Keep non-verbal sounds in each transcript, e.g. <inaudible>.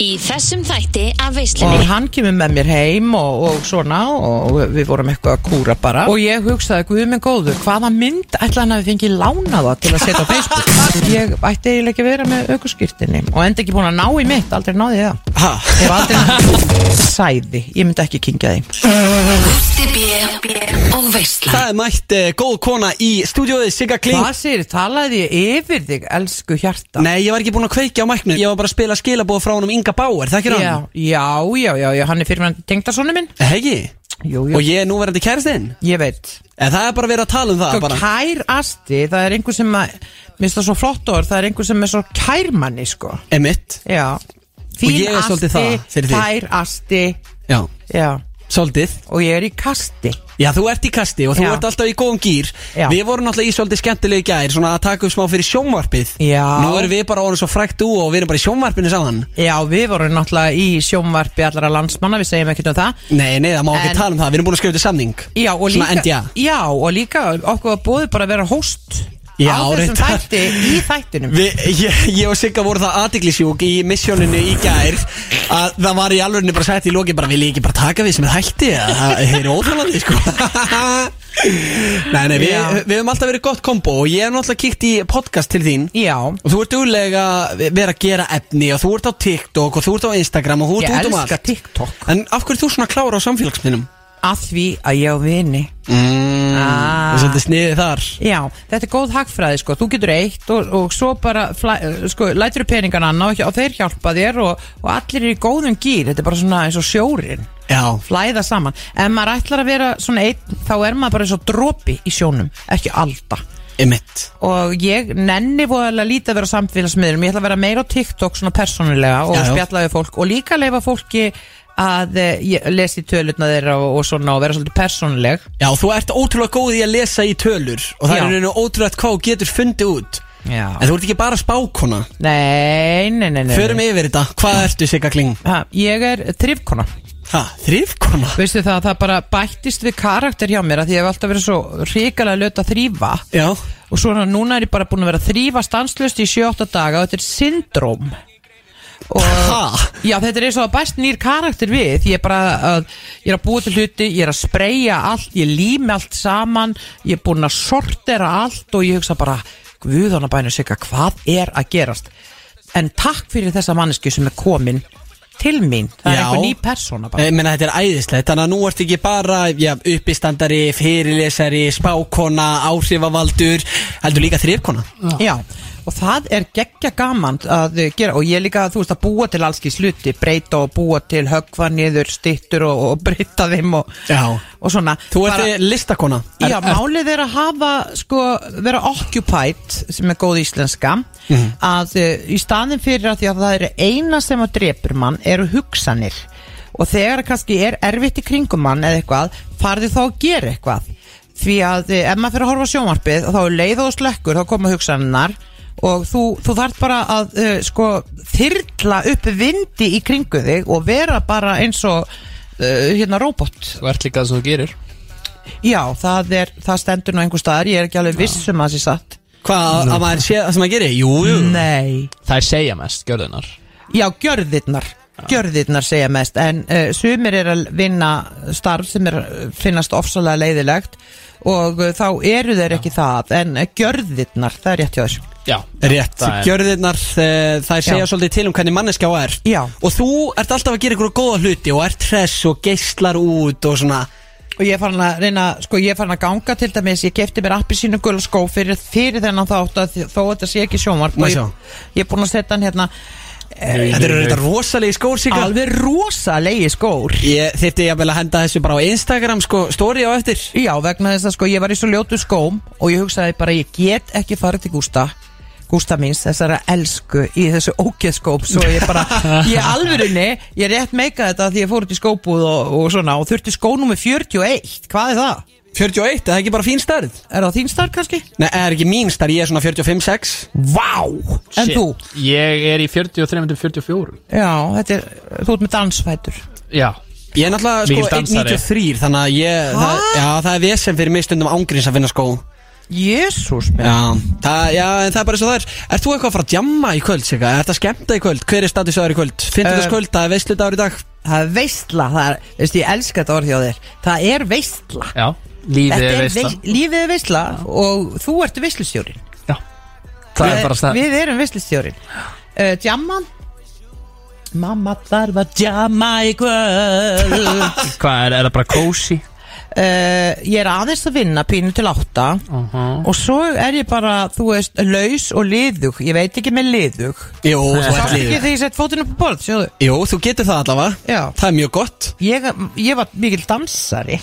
í þessum þætti af og veislunni hann kemur með mér heim og, og svona og við vorum eitthvað að kúra bara og ég hugsaði, guð minn góður, hvaða mynd ætla hann að við fengið lánaða til að setja á Facebook <laughs> ég ætti eiginlega ekki að vera með aukurskýrtinni og enda ekki búin að ná í mitt aldrei náði ég það Ha? ég var <laughs> aldrei sæði, ég myndi ekki kingja því Gústi B og Veislan Það er mætt uh, góð kona í stúdióið Sigga Kling hvað sér, talaði ég yfir þig, elsku hjarta Nei, ég var ekki búin að kveikja á mæknu Ég var bara að spila skilabóð frá honum Inga Bauer, þekkir já, hann? Eh, já, já, já, já, hann er fyrir hann tengdarsonu minn Hegi? jú, Og ég er núverandi kæristinn ég veit En það er bara verið að tala um það Sko bara. kær asti, það er einhver sem að, mér finnst það svo flott orð, það er einhver sem er svo kærmanni sko. Emitt Já. ég er svolítið það fyrir þig. kær asti, Já, já, svolítið og ég er í kasti. Já, þú ert í kasti og þú Já. ert alltaf í góðum gýr Já. Við vorum alltaf í svolítið skemmtilegu í gær Svona að taka upp smá fyrir sjónvarpið Já. Nú erum við bara orðin svo frækt úr og við erum bara í sjónvarpinu saman Já, við vorum náttúrulega í sjónvarpi allra landsmanna, við segjum ekkert um það. Nei, nei, það má ekki En- tala um það, við erum búin að skrifa til samning Já, og Svona líka, NDA. já, og líka okkur var bóðið bara að vera host Já, á þessum reyndar. þætti, í þættinum. Vi, ég, ég og Sigga voru það aðdeglisjúk í missjóninu í gær að það var í alvegni bara sætt í loki bara vil ég ekki bara taka við sem er hætti að það það er óþálandi sko Nei, nei, við, Já. við höfum alltaf verið gott kombo og ég hef náttúrulega kíkt í podcast til þín Já, og þú ert duglega að vera að gera efni og þú ert á TikTok og þú ert á Instagram og þú ég ert út um elska allt TikTok En af hverju ert þú svona klára á samfélagsminnum? að því að ég á vini. Mm, Ah. ah. Svolítið sniðið þar Já, þetta er góð hagfræði sko, þú getur eitt og, og svo bara flæ, sko, lætur þú peningan annað og, og þeir hjálpa þér og, og allir eru í góðum gýr, þetta er bara svona eins og sjórin, Já, flæða saman. Ef maður ætlar að vera svona einn, þá er maður bara eins og dropi í sjónum, ekki alda. emitt Og ég nenni voðalega lítið að vera á samfélagsmiðlum, ég ætla að vera meira á TikTok svona persónulega og Já, já. spjalla við fólk og líka leifa fólki að e, lesi tölutna þeirra og, og svona og vera svolítið persónuleg. Já, þú ert ótrúlega góð í að lesa í tölur og það Já. er rauninu ótrúlega hvað þú getur fundið út Já. En þú ert ekki bara spákona Nei, nei, nei, nei. Förum yfir þetta, hvað ertu Sigga Kling? Ha, ég er þrifkona Ha, þrifkona? Veistu það, það bara bættist við karakter hjá mér að Því ég hef alltaf verið svo hrikalega löt að þrýfa Já Og svona núna er ég bara búin að vera að þrýfa stanslust í 7-8 daga Og þetta er syndróm og, Ha? Já, þetta er eins og að bæst nýr karakter við Ég er bara að, ég er að búa til hluti Ég er að spreja allt, ég lími allt saman Ég er búin að sortera allt Og ég hugsa bara, guðanabænu sigga Hvað er að gerast? En takk fyrir þessa mannesku sem er komin til mín, það er Já. einhver ný persóna bara. Ég meina þetta er æðislegt, þannig að nú ert ekki bara já, uppistandari, fyrirlesari, spákona, áhrifavaldur Heldur líka þrifkona Já, og það er geggja gaman að gera og ég líka, þú veist, að búa til allski sluti, breyta og búa til högva niður, stittur og, og breyta þeim og, Já. og svona Þú ert Bara- listakona Já, málið er að hafa, sko, vera occupied, sem er góð íslenska, að uh, í staðin fyrir að því að það eru eina sem að drepur mann eru hugsanir og þegar kannski er erfitt í kringum mann eða eitthvað, farði þá að gera eitthvað. Því að uh, ef maður fyrir að horfa á sjónvarpið og þá er leið og slekkur, þá koma hugsaninnar og þú, þú þarf bara að uh, sko þyrla upp vindi í kringu þig og vera bara eins og uh, hérna robot Þú ert líka það sem þú gerir Já, það, er, það stendur nú einhver staðar, ég er ekki alveg viss um að það sé satt. Hvað, að maður sé það sem maður gerir? Jú, jú Nei. Það er segja mest, gjörðunar Já, gjörðirnar, gjörðirnar segja mest, en uh, sumir er að vinna starf sem er, finnast ofsalega leiðilegt og uh, þá eru þeir ekki það, en uh, gjörðirnar, það er rétt hjá þessu. Já, Rétt, það er- gjörðirnar, eh, þær segja svolítið til um hvernig manneskja á er Já. Og þú ert alltaf að gera ykkur góða hluti og ert hress og geislar út og svona Og ég er farin að reyna, sko ég er farin að ganga til dæmis, ég kefti mér appi sínu gula skó fyrir, fyrir þennan þátt að þó að þetta sé ekki sjónvarp Má og ég sjá? ég, ég er búin að setja hann hérna Þetta eru þetta rosalegi skór síka alveg rosalegi skór. Ég þyrfti ég að henda þessu bara á Instagram sko, story á eftir Já, vegna þess að sko ég var í svo ljótu skóm og ég hugsaði bara ég get ekki farið til Gústa Gústa minns þessara elsku í þessu ógeðskóp svo ég bara, <laughs> ég alvörunni ég rétt meika þetta því ég fór út í skópuð og, og svona og þurfti skó nummer 41 hvað er það? 41, það er ekki bara fín starð Er það þín starf kannski? Nei, það er ekki mín starð, ég er svona 45-6 Vá! En Shit. þú? Ég er í 43-44 Já, þetta er, þú ert með dansfætur Já Ég er náttúrulega sko Mikill dansari. 193 Þannig að ég, það, já, það er vesen fyrir mig stundum ángriðs að finna skó Jésús minn Já, það, já, en það er bara eins og það er Ert þú eitthvað að fara að djamma í kvöld, Sigga? Er þetta skemmta í kvöld? Hver er status á þér í kvöld? Fyndu þess Eh, kvöld, það er veislu dagur í dag Það er veistla, það er, veist ég elska þetta orðið á þér Það er veistla Já, lífið Þetta er er veistla veis- Lífið er veistla og þú ert veislustjórin Já, það er bara stað Við erum veislustjórin uh, Djamman Mamma þarf að djamma í kvöld <laughs> Hvað er, er það bara kósi? uh, Ég er aðeins að vinna pínu til átta Og svo er ég bara, þú veist, laus og liðug Ég veit ekki með liðug Jú, þú Sátt ert ekki líður þegar ég sett fótinn upp á borð, sjóðu Jú, þú getur það allavega Já. Það er mjög gott Ég, ég var mikil dansari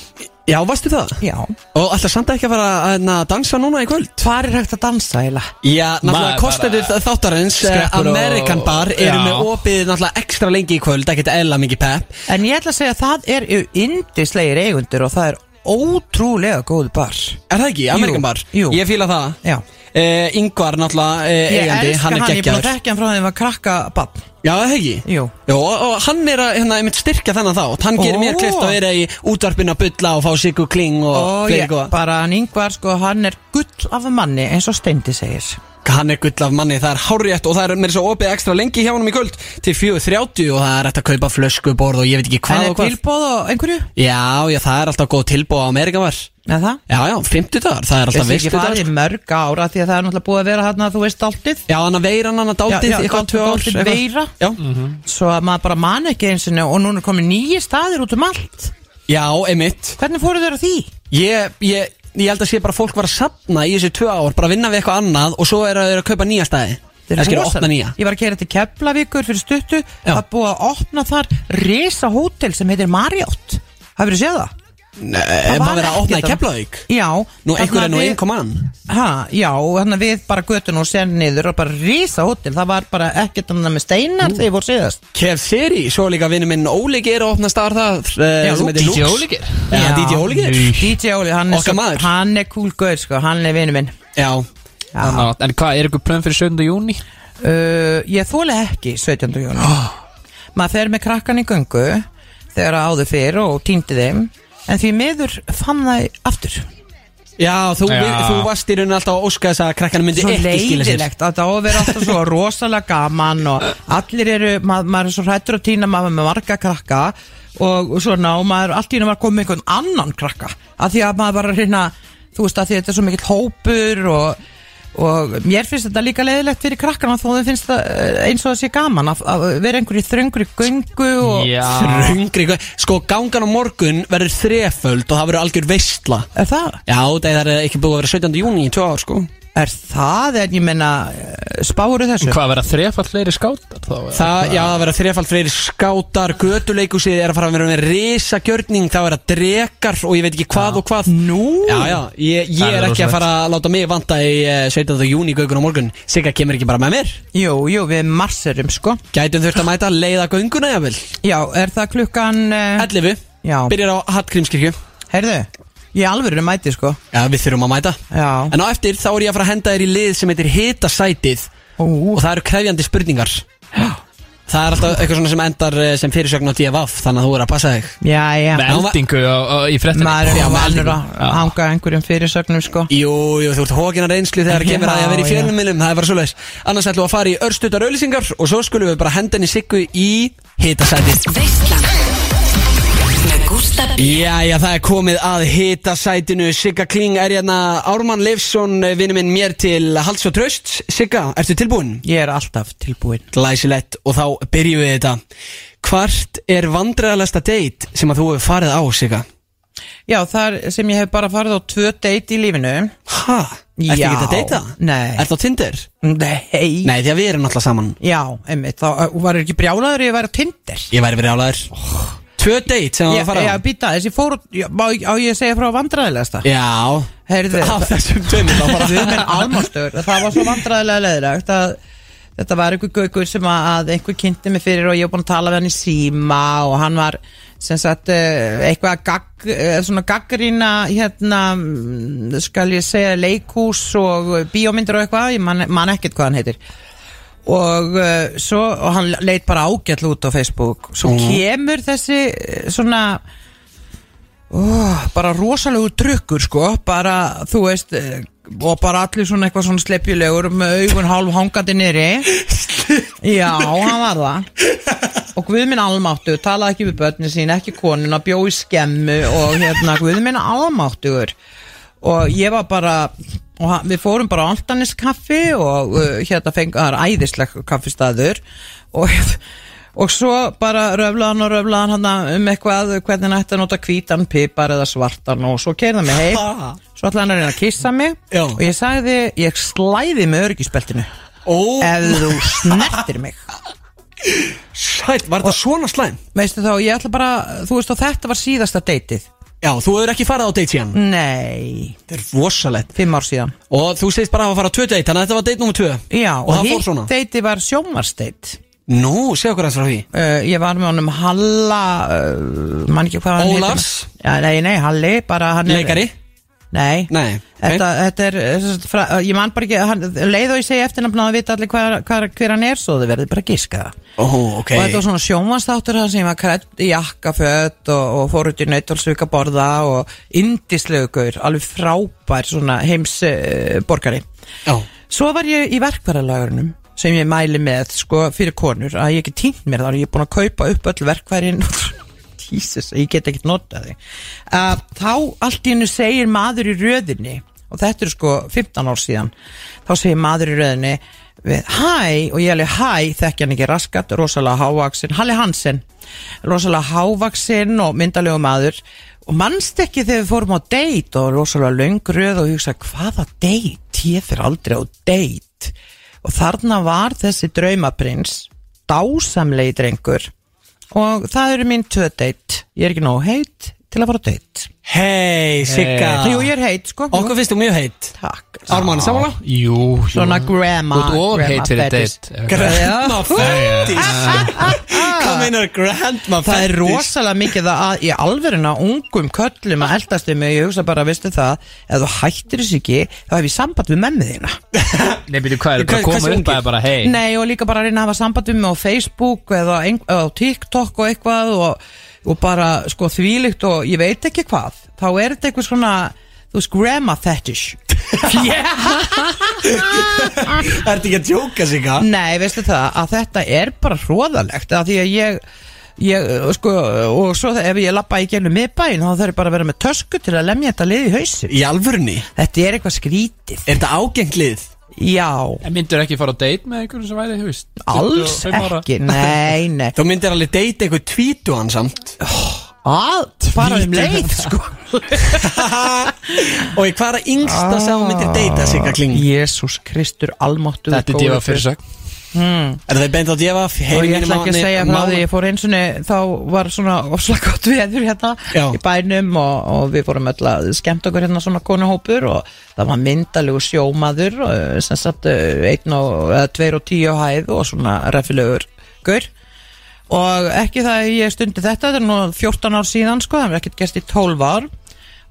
Já, varstu það? Já Og alltaf samt ekki að fara að hérna, dansa núna í kvöld? Hvar er hægt að dansa eila? Já, náttúrulega Maður kostendur bara- þáttarins eh, Skreppur og- American Bar eru Já. með opið náttúrulega ekstra lengi í kvöld ekkert eðla mikið pepp En ég ætla að segja að það er indislegir eigundur og það er ótrúlega góð bar Er það ekki, American Bar? jú. Ég fíla það Já Eh, Ingvar náttúrulega eh, Ég eigandi, elska hann hann, ég er er búin að geggjaður þekkja hann frá því að var krakka bann Já, er það ekki? Jú. og, og hann er að, hérna, einmitt styrkja þennan þátt Hann gerir Ó. mér klift að vera í útvarpinu að bulla og fá sigur kling og Og fleiri ég, góða bara hann yngvar sko, hann er gull af manni eins og Steindi segir Hann er gull af manni, það er hárétt og það er mér svo opið ekstra lengi hjá honum í kvöld til 4.30 og það er hægt að kaupa flöskuborð og ég veit En ekki hvað er og hvað tilbóð og einhverju? Já, já, það er alltaf góð tilbúið á Amerikan var Eða það? Já, já, 50 dagar, það Ég er alltaf sé ekki veistu sko? farið í mörg ára því að það er náttúrulega búið að vera hann þú veist alltið Já, hann að veiran hann að Já, dálítið, já, eitthvað tvö ár dálítið eitthvað. veira. Mhm. Já, Svo að maður bara man ekki eins og og núna er komið nýju staðir út um allt já emitt Hvernig fóruð þeir að því? Ég, ég, ég held að sé bara að fólk var að sapna í þessi tvö ár bara að vinna við eitthvað annað og svo er að, er að kaupa nýja staði Þeir Það skilja að rosaleg. opna nýja Ég var að kera til Keflavíkur fyrir stuttu Það er búið að opna þar risa hótel sem heitir Marriott Hafið þið séð það? Nei, var er maður verið að opna í ekkert Keflavík? Já Nú, einhver er þarna nú við- einn kom an Ha, já, þannig að við bara götun og sen niður og bara risa hótel, það var bara ekkert annað með steinar þegar ég voru síðast Kef Seri, svo er líka vinnu minn Ólik er að opna eh, staðar það Já, DJ Ólíkir? Já, Já. Mm. DJ Ólik er Nei. DJ Óli, hann er, Okkar maður. hann er cool gaur sko, hann er vinur minn Já, já. Ná, En hvað, er ykkur plön fyrir 7. júni? Uh, ég þóla ekki 17. júni Maður fer með krakkan í göngu þegar að áður fyrir og týndi þeim en því miður fann það aftur já, þú, Já. Við, þú varst í rauninni alltaf að óska þess að krakkana myndi Svo ekki skila sér leiðilegt að það á að vera alltaf <laughs> svo rosalega gaman og allir eru, mað, maður er svo hrættur að týna maður er með marga krakka og, og svona og maður allt í henni var komið einhvern annan krakka að því að maður var að reyna þú veist að því að þetta er svo mikill hópur og, og mér finnst þetta líka leiðilegt fyrir krakkana þó þau finnst það eh, eins og það sé gaman að, að vera einhverju þröngri göngu og Já Þröngri, hvað- sko gangan á morgun verður þreföld og það verður algjör veistla er það? Já, það er ekki búið að vera 17. júni í tvö ár sko Er það en ég menna spáru þessu? Hvað verða þrefall fleiri skátar þá? eða? Það, já, það verða þrefald fleiri skátar, götuleikusið er að fara að vera með risagjörning, það verða drekar og ég veit ekki hvað og hvað Nú? Já, já, ég, Það ég er er ekki rosalegt. að fara að láta mig vanta í eh, 17. júni gaugun á morgun Sigga kemur ekki bara með mér Jú, jú, við marserum sko Gætum þurft að mæta leiða gönguna, jafnvel Já, er það klukkan uh, 11, Já. byrjar á Hallgrímskirkju Heyrðu, ég alveg er mæti sko Já, við þurfum að mæta Já En á eftir þá er ég að fara að henda þér í lið sem heitir hitasætið Ú, og það eru krefjandi spurningar Það er alltaf eitthvað svona sem endar eh, sem fyrirsögn á DFF þannig að þú er að passa þig já, já Með eldingu á, á, í frettinni Maður er nú Já, með vanur eldingu. að hanga einhverjum fyrirsögnum sko Jú, jú, þú ert hókinar reynslu þegar það kemur að því að vera Já, í já. fjölumilum Það er bara svoleiðis Annars ætlum við að fara í örstutar auðlýsingar og svo skulum við bara henda henni Siggu í hitasætið Veislan Með Gústa B Jæja, það er komið að hitasætinu Sigga Kling er hérna Ármann Leifsson, vinnu minn mér til Hals og Tröst Sigga, ertu tilbúin? Ég er alltaf tilbúinn Læsilegt og þá byrjum við þetta Hvart er vandræðalegsta date sem að þú hefur farið á, Sigga? Já, þar sem ég hef bara farið á tvö date í lífinu Hæ? Ertu ekki Já. að deyta? Nei. Ertu á Tinder? Nei Nei, því að við erum náttúrulega saman Já, einmitt, þá uh, var ég ekki brjálaður ef ég væri á Tinder Ég væri verið álæður Tvö date sem það var Ég, að fara ég á býta, þessi fór já, má- Á ég að segja frá vandræðilegasta Já Heyrðu, Á þessum tveimur þá bara Guð minn almástur Það var svo vandræðilega leðilegt að þetta var einhver gaugur sem að, að einhver kynnti mig fyrir og ég var búin að tala við hann í síma og hann var sem sagt eh, eitthvað að gag, eh, svona gaggrína hérna mm, skal ég segja leikús og bíómyndir og eitthvað ég man, man ekkert hvað hann heitir og, uh, svo, og hann leit bara ágæll út á Facebook svo Mhm. kemur þessi eh, svona ó, bara rosalegu trukkur sko bara þú veist eh, og bara allir svona eitthvað svona sleppjulegur með augun hálf hangandi nýri já, hann var það og Guðminn almáttu, talaði ekki við börnin sín ekki konuna, bjóði skemmu og hérna Guðminn almáttugur og ég var bara og hann- við fórum bara á Altanis kaffi og uh, hérna fengið, það er æðisleg kaffistæður og Og svo bara röflaðan og röflaðan hann um eitthvað, hvernig hann ætti að nota hvítan, pipar eða svartan og svo keirði hann mig heim. Ha? Svo ætlaði hann að reyna að kissa mig Já. og ég sagði, ég slæði með öryggisbeltinu Ó, ef þú snertir mig. sætt, var þetta svona slæm? Veistu þá, ég ætla bara, þú veist þá, þetta var síðasta deytið. Já, þú hefur ekki farið á date síðan Nei, Þetta er rosalegt fimm ár síðan. Og þú segist bara að hafa farið á tvö date, þannig að þetta var date nummer tvö Já, Og, það fór svona deytið var sjómarsteyt. Nú, segja okkur hans frá því Uh, ég var með honum Halla, uh, mann ekki hvað hann Ólafs? Já, nei, nei, Halli, bara hann er- Leikari Nei, Nei, þetta, þetta er, þess að fra- ég man bara ekki, hann, leið og ég segi eftirnafna að vita allir hver, hver, hver hann er svo þau verði bara að giska það Ó, ok og þetta var svona sjónvannstáttur það sem ég var kredd í jakkaföt og, og fór út í nautalsvíka borða og indislegugur, alveg frábær svona heims uh, borgari Já, Svo var ég í verkværalagurinnum sem ég mæli með sko fyrir konur að ég ekki týnt mér þar, ég er búin að kaupa upp öll verkværin <laughs> Jesus, ég get ekkert notað þig uh, Þá allt í hennu segir maður í röðinni og þetta er sko 15 ár síðan þá segir maður í röðinni við hæ og ég alveg hæ þekki hann ekki raskat, rosalega hávaksinn Halli Hansen, rosalega hávaksinn og myndalegu maður og mannst ekki þegar við fórum á date og rosalega löng röð og hugsa hvaða date, ég fyrir aldrei á date og þarna var þessi draumaprins dásamlegi drengur og það eru mín tvö date ég er ekki nóg heit til að fara á date hei, Sigga Ah. Jú, ég er heit sko Jú, Okkur finnst þú mjög heitt Takk Ármann, samanlega Jú, jú Svona grandma- Þú ert grandma ofheit fyrir fetish. deitt Grandma fettis <laughs> Hvað Ah. meinar grandma fettis? Það er rosalega mikið að í alverðina ungum köllum að eldast um mig ég hugsa bara, veistu það, ef þú hættir þess ekki þá hef ég samband við mennið þína Nei, byrju, hvað Hvað- er þetta? Komur hversu upp að ungir? bara, hei <laughs> Nei, og líka bara að reyna að hafa samband við mig á Facebook eða ein- á TikTok og eitthvað og, og bara, sko, þvílíkt og ég veit ekki hvað, þá er þetta eitthvað svona þú veist, grandma fetish Það ert ekki að djóka, Sigga Nei, veistu það, að þetta er bara hróðalegt að því að ég, ég uh, sko, og svo það- ef ég lappa í gennum miðbæin þá þarf ég bara að vera með tösku til að lemja þetta lið í hausin Í alvörni Þetta er eitthvað skrítið Er þetta ágenglið? Já, En myndur ekki fara á date með einhverjum sem væri, þú veist alls 25 ára? ekki Nei, nei Þú myndir alveg deyta eitthvað tvítuan samt <laughs> Allt, bara um leið sko. Og ég hvað er að yngsta sem þú Ah. myndir deyta, Sigga Kling? Jésús Kristur almáttu Þetta er djöfa fyrirsögn Er það beint á djöfa? Og ég ætla ekki að segja frá því, ég fór eins og þá var svona ofslega gott veður hérna Já. í bænum og, og við fórum öll að skemmt okkur hérna svona konuhópur og það var myndalegu sjómaður eh, sem satt eh, einn og, eða tveir og tíu á hæð og svona ræfilegur gaur og ekki það að ég stundi þetta, þetta er nú 14 ár síðan sko, það var ekkert gert í 12 ár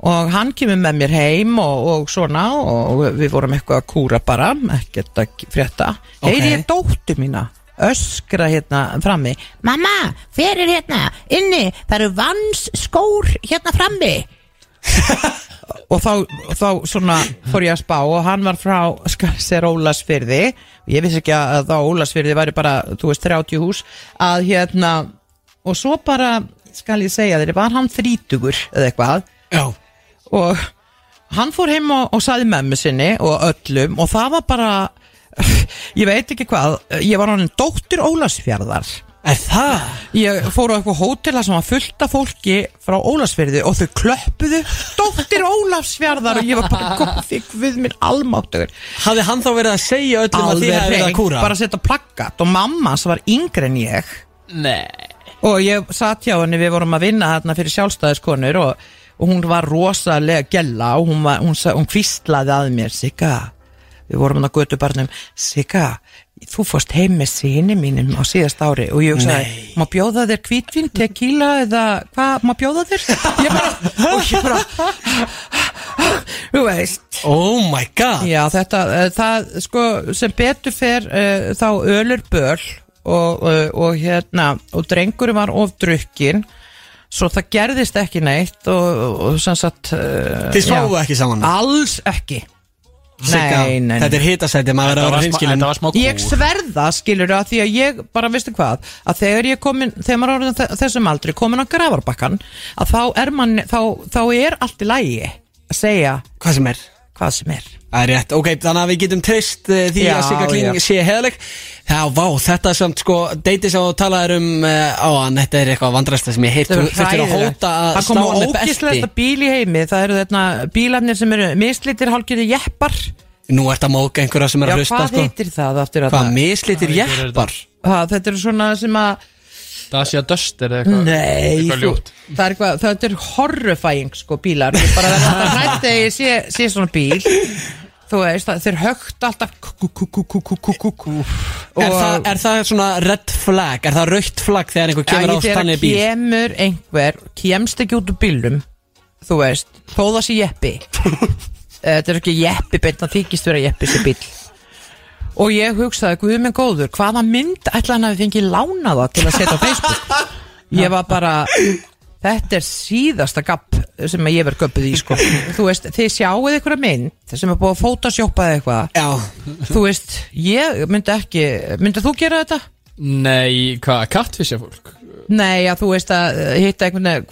og hann kemur með mér heim og, og svona og við vorum eitthvað að kúra bara, ekkert að frétta Ok. heyri ég dóttu mína öskra hérna frammi mamma, hver er hérna inni það eru vans skór hérna frammi <laughs> og þá, þá svona fór ég að spá og hann var frá sér Ólasfyrði og ég vissi ekki að þá Ólasfyrði væri bara, þú veist, 30 hús að hérna, og svo bara skal ég segja þér, var hann þrítugur eða eitthvað Já og hann fór heim og, og saði memmi sinni og öllum og það var bara <laughs> ég veit ekki hvað, ég var hann dóttir Ólasfjörðar Er það? ég fór á eitthvað hótela sem var fullt af fólki frá Ólasfjörði og þau klöppuðu dóttir Ólasfjörðar og ég var bara komið þig við minn almáttugur Hafði hann þá verið að segja öllum að þið hefði verið að hreint, kúra? bara að setja plakkat og mamma sem var yngri en ég Nei og ég satt hjá henni, við vorum að vinna hérna fyrir sjálfstæðiskonur og, og hún var rosalega gella og hún, var, hún, sa- hún kvistlaði að mér Sigga, við vorum að götu barnum Sigga, þú fost heim með sinni mínum á síðast ári og ég hugsaði, má bjóða þér kvítvin tequila eða hvað, má bjóða þér ég bara, og ég bara þú veist Oh my god Já, þetta, eh, það, sko, sem betur fer uh, þá ölur böl og, uh, og hérna, og drengur var of drukkin, svo það gerðist ekki neitt og, og, og sem sagt, uh, Þið sváðu ekki saman alls ekki. Sigga, Nei, nei, nei. Þetta er hitasæti, maður verður að Þetta vera var smá- hinskilin þetta var smá Ég kúr sverða, skilur að því að ég bara, veistu hvað, að þegar ég komin þegar maður er orðinn þe- þessum aldri, komin á grafarbakkan að þá er mann þá, þá er allt í lagi að segja Hvað sem er hvað sem er Það er rétt, ok, þannig að við getum treyst uh, því Já, að Sigga Kling já. sé heðaleg Já, vá, þetta er samt sko Deiti sem þú talaðir um uh, áan Þetta er eitthvað vandræsta sem ég heilt Það Þú verður þurftir að hræðilegt. hóta að Það slá koma hann með ógislega besti bíl í heimi Það eru þarna bílarnir sem eru mislitir hálfgerði jeppar Nú ert að móka einhverja sem er Já, að hvað hlusta sko. heitir það aftur að Hvað mislitir Hvað heitir jeppar það, Þetta eru svona sem að Dacia Duster eða eitthvað Nei, Eitthvað þú, ljótt það er eitthvað, þetta er horrifying sko bílar, ég bara verður alltaf hrætt að ég sé, sé svona bíl þú veist, það- þeir högt alltaf kú, kú, kú, kú, kú, kú, kú, kú. er, það, er það svona red flag, er það rautt flag þegar einhver kemur á Æ, þegar stannir bíl kemur einhver kemst ekki út úr bílum þú veist, þó það sé <laughs> jeppi Eh, þetta er ekki jeppi beint það þykist vera jeppi sem bíl og ég hugsaði, guð minn góður hvaða mynd ætla hann að við fengið lánaða til að setja á Facebook <laughs> ég var bara þetta er síðasta gapp sem að ég verð göppuð í sko. þú veist, þið sjáuð einhverja mynd sem er búið að fótasjópa eða eitthvað Já, þú veist, ég myndi ekki myndið þú gera þetta? Nei, hvað, kattfisja fólk? Nei, já, þú veist að uh, hitta einhvern veginn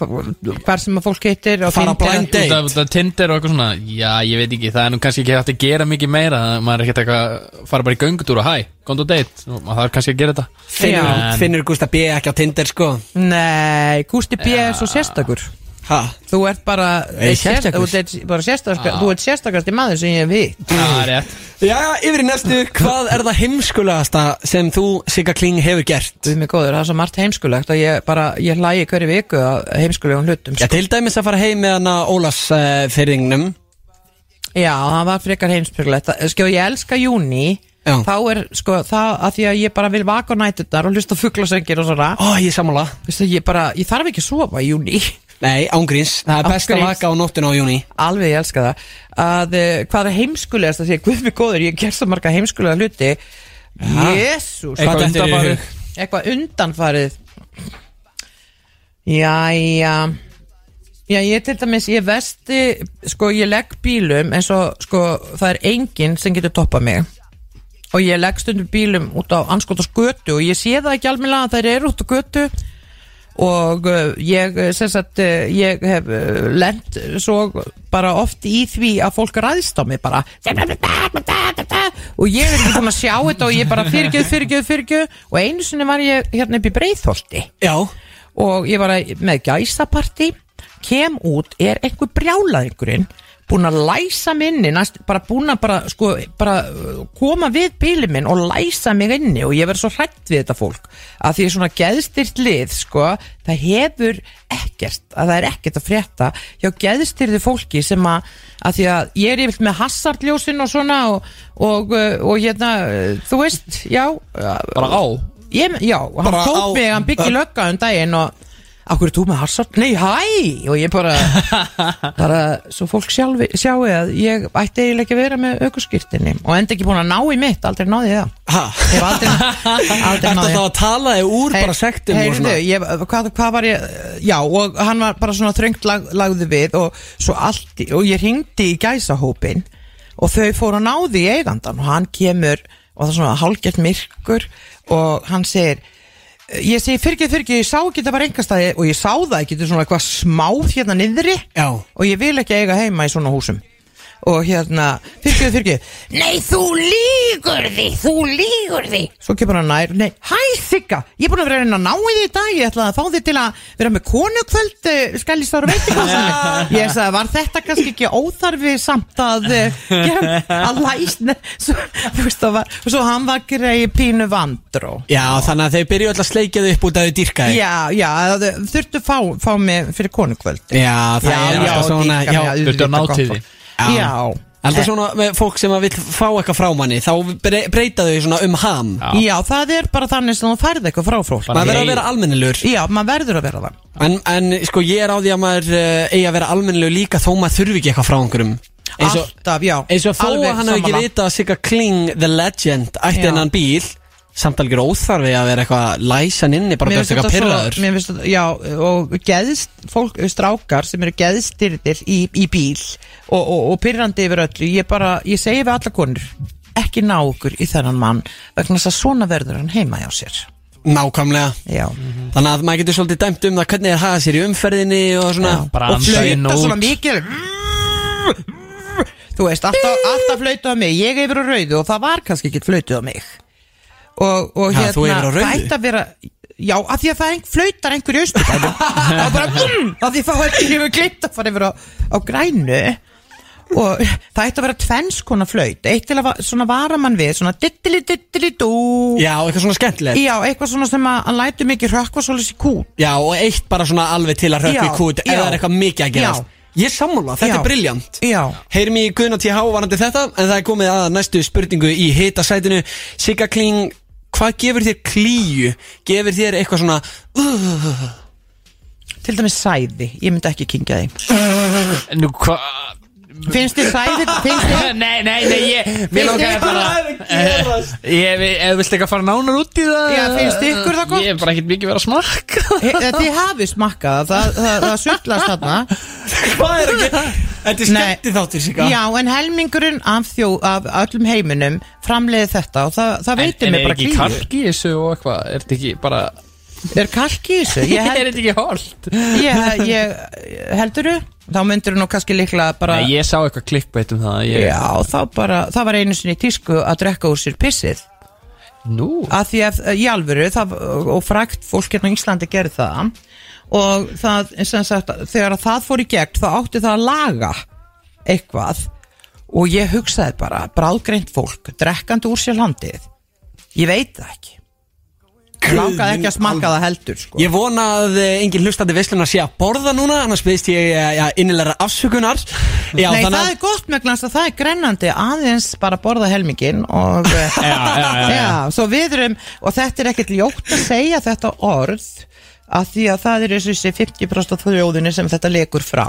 hva- hvar sem að fólk hittir og Fara á Tinder. blind date. Út af- út af Tinder og eitthvað svona Já, ég veit ekki, það er nú kannski ekki hægt að gera mikið meira það- Maður er ekkert eitthvað, fara bara í göngutúr og hæ, komdu á date Nú, Maður þarf kannski að gera þetta finnur, Já. finnur Gústa B ekki á Tinder sko Nei, Gústi B er svo sérstakur ha. Þú ert bara Er ég sérst- sérstakur? þú ert bara sérstakar, þú ert sérstakasti maður sem ég hef hitt Það er rétt Já, yfir í næstu, hvað er það heimskulegasta sem þú, Sigga Kling, hefur gert? Við mig góður, það er svo margt heimskulegt og ég bara, ég hlægi hverju viku að heimskulegum hlutum sko. Já, til dæmis að fara heim með hana Ólafs uh, fyrringnum Já, það var frekar heimsbyrgulegt Sko, ég elska júni Já. Þá er, sko, það að því að ég bara vil vaka á nættunar og hlusta á fuglasöngir og svona Ó, ég er sammála Vistu, ég bara, ég þarf ekki að sofa í júni Nei, ángríns, það er Án best að gríns. vaka á nóttuna á júni Alveg, ég elska það að, uh, Hvað er heimskulegast að segja Guð mig góður, ég ger svo marga heimskulega hluti Jésús Hvað Eitthvað dettur þér í undanfarið Eitthvað undanfarið Jæja Já, ég til dæmis, ég vesti Sko, ég legg bílum eins og, sko, það er enginn sem getur toppað mig og ég legg stundum bílum út á anskotas götu og ég sé það ekki almennilega að þær eru út á götu og uh, ég eh, sem sagt uh, ég hef uh, lent svo bara oft í því að fólk ræðst á mig bara og ég er ekki búin að sjá þetta og ég bara fyrirgjöð, fyrirgjöð, fyrirgjöð og einu sinni var ég hérna upp í Breiðholti Já, og ég var að- með gæsaparti kem út, er einhver brjálaðingurinn búin að læsa mig inni næst, bara búin að bara, sko, bara uh, koma við bílið minn og læsa mig inni og ég verð svo hrætt við þetta fólk að því svona geðstyrt lið sko, það hefur ekkert að það er ekkert að frétta hjá geðstyrðu fólki sem að, að því að ég er yfir með hasardljósin og svona og, og, uh, og hérna uh, þú veist, já uh, Bara á ég, já, og hann Bara tók á- mig, hann byggi lögga um daginn og Akkur er þú með harsart? Nei, hæ! Og ég bara, <laughs> bara svo fólk sjálfi, sjáu að ég ætti eiginlega ekki að vera með aukurskýrtinni og enda ekki búin að ná í mitt, aldrei náði ég það. ha Ég var aldrei, Ertu aldrei náði þá að tala þig úr bara sektum og heyrðu, svona ég, hvað, hvað var ég já og hann var bara svona þröngt lag, lagði við og svo allt í- og ég ringdi í gæsahópin og þau fóru að náði í eigandan og hann kemur og það er svona hálgert myrkur og hann segir ég segi fyrkið fyrkið, ég sá ekki þetta var einhverstaði og ég sá það ekki, þetta er svona eitthvað smáð hérna niðri Já. og ég vil ekki eiga heima í svona húsum og hérna, fyrkið fyrkið Nei, þú lígur því, þú lígur því Svo kemur hann nær, nei, hæ Sigga, ég er búin að vera að reyna að ná í því í dag, ég ætla að fá þig til að vera með konukvöld, uh, skal ég stára veit hvað sem er. Ég sagði, var þetta kannski ekki óþarfi samt að uh, gera, að læsna, svo, þú veist það var, svo hann var greið pínu vandró. Já, þannig að þau byrju öll að sleikja þau upp út að þau dýrka þig Já, já, þau þurftu fá, fá mig fyrir konukvöld. Já, það er alltaf svona dýrka já, mig, þurftu að auðvitað ná gott til fólk. Já. Já. Alltaf svona með fólk sem að vill fá eitthvað frá manni Þá bre- breyta þau svona um ham Já. Já, það er bara þannig sem þú færði eitthvað frá fólk. Bara- Maður verður að Nei. vera almennilur Já, maður verður að vera það. En, en sko ég er á því að maður uh, eigi að vera almennilegu líka þó maður þurfi ekki eitthvað frá einhverjum eins og, Alltaf, já. eins og þó Alveg að hann hafi ekki sammála. vitað að Sigga Kling the legend ætti Já. hennan bíl samt algjör óþarfi að vera eitthvað læsan inni bara Mér gæst finnst eitthvað þetta pyrraður svo- mér finnst þetta- Já, og geðst fólk, eh, strákar sem eru geðstyrðir í, í bíl og, og, og pyrrandi yfir öllu ég bara, ég segi við alla konur ekki ná okkur í þennan mann vegna þess að svona verður hann heima hjá sér Nákvæmlega Já, Þannig að maður getur svolítið dæmt um það hvernig er haga sér í umferðinni og svona Já. Bara og andaðinn flauta út. svona mikið þú veist, alltaf, alltaf flautuð á mig ég yfir á rauðu og það var kannski ekki flautuð á mig og, og Ha, hérna þú yfir á rauðu? það ætti að vera já, af því að það ein, flautar einhver í <laughs> austurbænum það var bara, mm, af því þá er ég hefur glitt að fara yfir á, á grænu og það ætti að vera tvenns konar flaut eitt til að va- svona vara mann við svona dittili dittili dú Já, eitthvað svona skemmtilegt já, eitthvað svona sem að hann lætur mikið rökkva svolítið í kút Já, og eitt bara svona alveg til að hrökkvi Já, kút ef já. það er eitthvað mikið að gerast Já. Ég er sammála, þetta Já. er briljant já Heyrum í Guðna TH varandi þetta En það er komið að næstu spurningu í hitasætinu Sigga Kling, hvað gefur þér klíu? Gefur þér eitthvað svona Til dæmis sæði, ég myndi ekki kingja því Nú, hva... Finnst þið <laughs> sæði, finnst þið Nei, nei, nei, ég Mér Finnst langaði þér bara að gerast? Eh, Ég, við- ef þú vilt eitthvað fara nánar út í það Já, finnst ykkur það gott? Ég er bara ekkert mikið verið að smakka He- Eh, Þið hafið smakkað, það, það, það sullast þarna <laughs> Hvað er ekki? Þetta er Nei. skemmti þáttir Sigga Já, en helmingurinn af, þjó, af öllum heiminum framleiði þetta og það, það veitir En mig er bara ekki klíður kalk í þessu og eitthvað Er þetta ekki bara Er kalki í þessu? Ég <laughs> Er held, þetta ekki holt? ég, ég, heldurðu? Þá myndirðu nú kannski líklega bara Nei, ég sá eitthvað klikkbeitt um það ég... Já, þá bara, það var einu sinni í tísku að drekka úr sér pissið Nú að því að eh, í alvöru það, og frækt fólk hérna á Íslandi gerði það og það, sem sagt, þegar að það fór í gegn þá átti það að laga eitthvað og ég hugsaði bara, bráðgreint fólk drekkandi úr sér landið ég veit það ekki langaði ekki að smakka það heldur sko. Ég vona að eh, engin hlustandi veislunar sé að borða núna annars byrðist ég eh, já, innilegra afsökunar já, Nei, þannig það er gott með glans að það er grennandi aðeins bara borða helmingin og já, já, já, já. svo við erum og þetta er ekkert ljótt að segja þetta orð að því að það er eins og þessi 50% af þjóðinni sem þetta lekur frá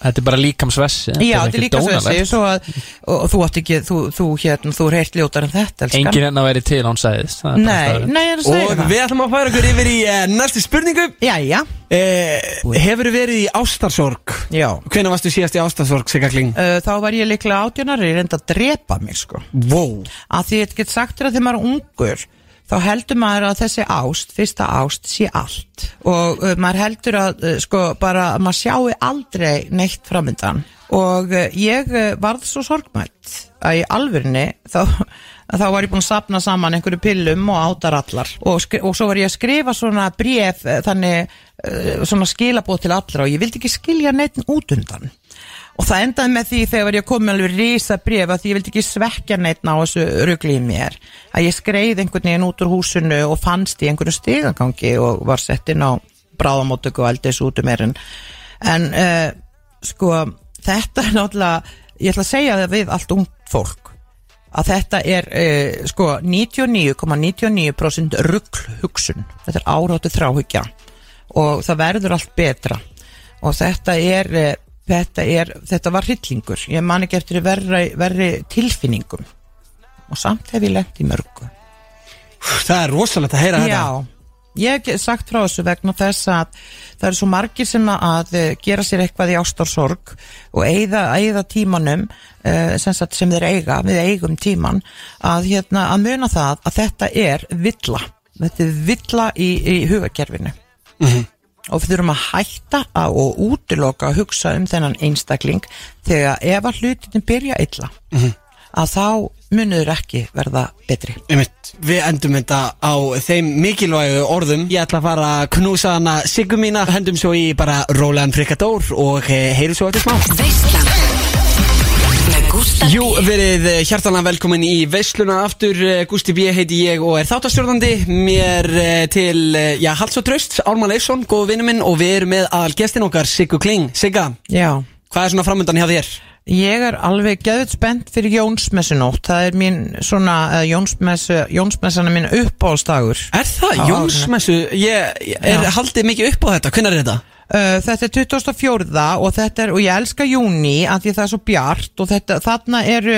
Þetta er bara líkamsvessi Já, þetta er líka svo að segja dónalegt. svo að, og, og þú átt ekki, þú, þú hérna, þú er heilt ljótar en þetta, elskan Engin hérna væri til án sæðis það er bara Nei, staðreynd. nei, ég er að að segja og það við ætlum að færa okkur yfir í eh, næstu spurningu Jæja, eh, Hefur verið í ástarsorg? já Hvenær varstu síðast í ástarsorg, Sigga Kling? Uh, þá var ég líklega átjónari, ég reyndi að drepa mig sko Wow að því ég get sagt þér að þegar maður er ungur þá heldur maður að þessi ást fyrsta ást sé allt og uh, maður heldur að uh, sko bara að maður sjáu aldrei neitt framöndan og uh, ég uh, varð svo sorgmætt að í alvörinni þá, <laughs> þá var ég búin að sapna saman einhverju pillum og átarallar og, skri- og svo var ég að skrifa svona bréf eh, þannig uh, svona skilabóð til allra og ég vildi ekki skilja neitt út undan Og það endaði með því þegar ég kom með alveg risa bref að því ég vildi ekki svekja neitt á þessu rugli í mér. Að ég skreið einhvern veginn út úr húsinu og fannst í einhverju stigangangi og var sett inn á bráðamóttöku og aldrei út um erin. En uh, sko þetta er náttúrulega, ég ætla að segja það við allt ungt fólk að þetta er uh, sko 99,99% rugl hugsun. Þetta er áráttu þráhyggja og það verður allt betra og þetta er eh, þetta, er, þetta var hryllingur ég man ekki eftir verri, verri tilfinningum og samt hef ég lent í mörgu Það er rosalegt að heyra þetta Já, ég hef sagt frá þessu vegna þess að það eru svo margir sem að eh, gera sér eitthvað í ástarsorg og eigða, eigða tímanum uh, sem, sagt, sem þeir eiga, við eigum tíman að, hérna, að muna það að þetta er villa þetta er villa í, í hugakerfinu og við þurfum að hætta að, og útiloka að hugsa um þennan einstakling þegar ef að hlutin byrja illa að þá munur ekki verða betri Einmitt. Við endum þetta á þeim mikilvægu orðum Ég ætla að fara að knúsa hana Siggu mína Hendum svo í bara rólegan frikadór Og eh, heyrum svo eftir smá Veislan Með Gústa Jú, verið hjartanlega velkomin í veisluna aftur Eh, Gústi B. heiti ég og er þáttastjórnandi Mér eh, til, eh, já, halds og tröst Ármann Leifsson, góðu vinnu minn Og við erum með aðal gestin okkar, Siggu Kling Sigga, Já hvað er svona framöndan hjá þér? Ég er alveg geðveit spennt fyrir Jónsmessunótt Það er mín svona, uh, Jónsmessu, Jónsmessana mín uppáðsdagur Er það? Á Jónsmessu, ég, ég er Já. haldið mikið upp á þetta, hvernig er þetta? Uh, þetta er 24. og þetta er, og ég elska júni að því það er svo bjart og þetta, þarna er,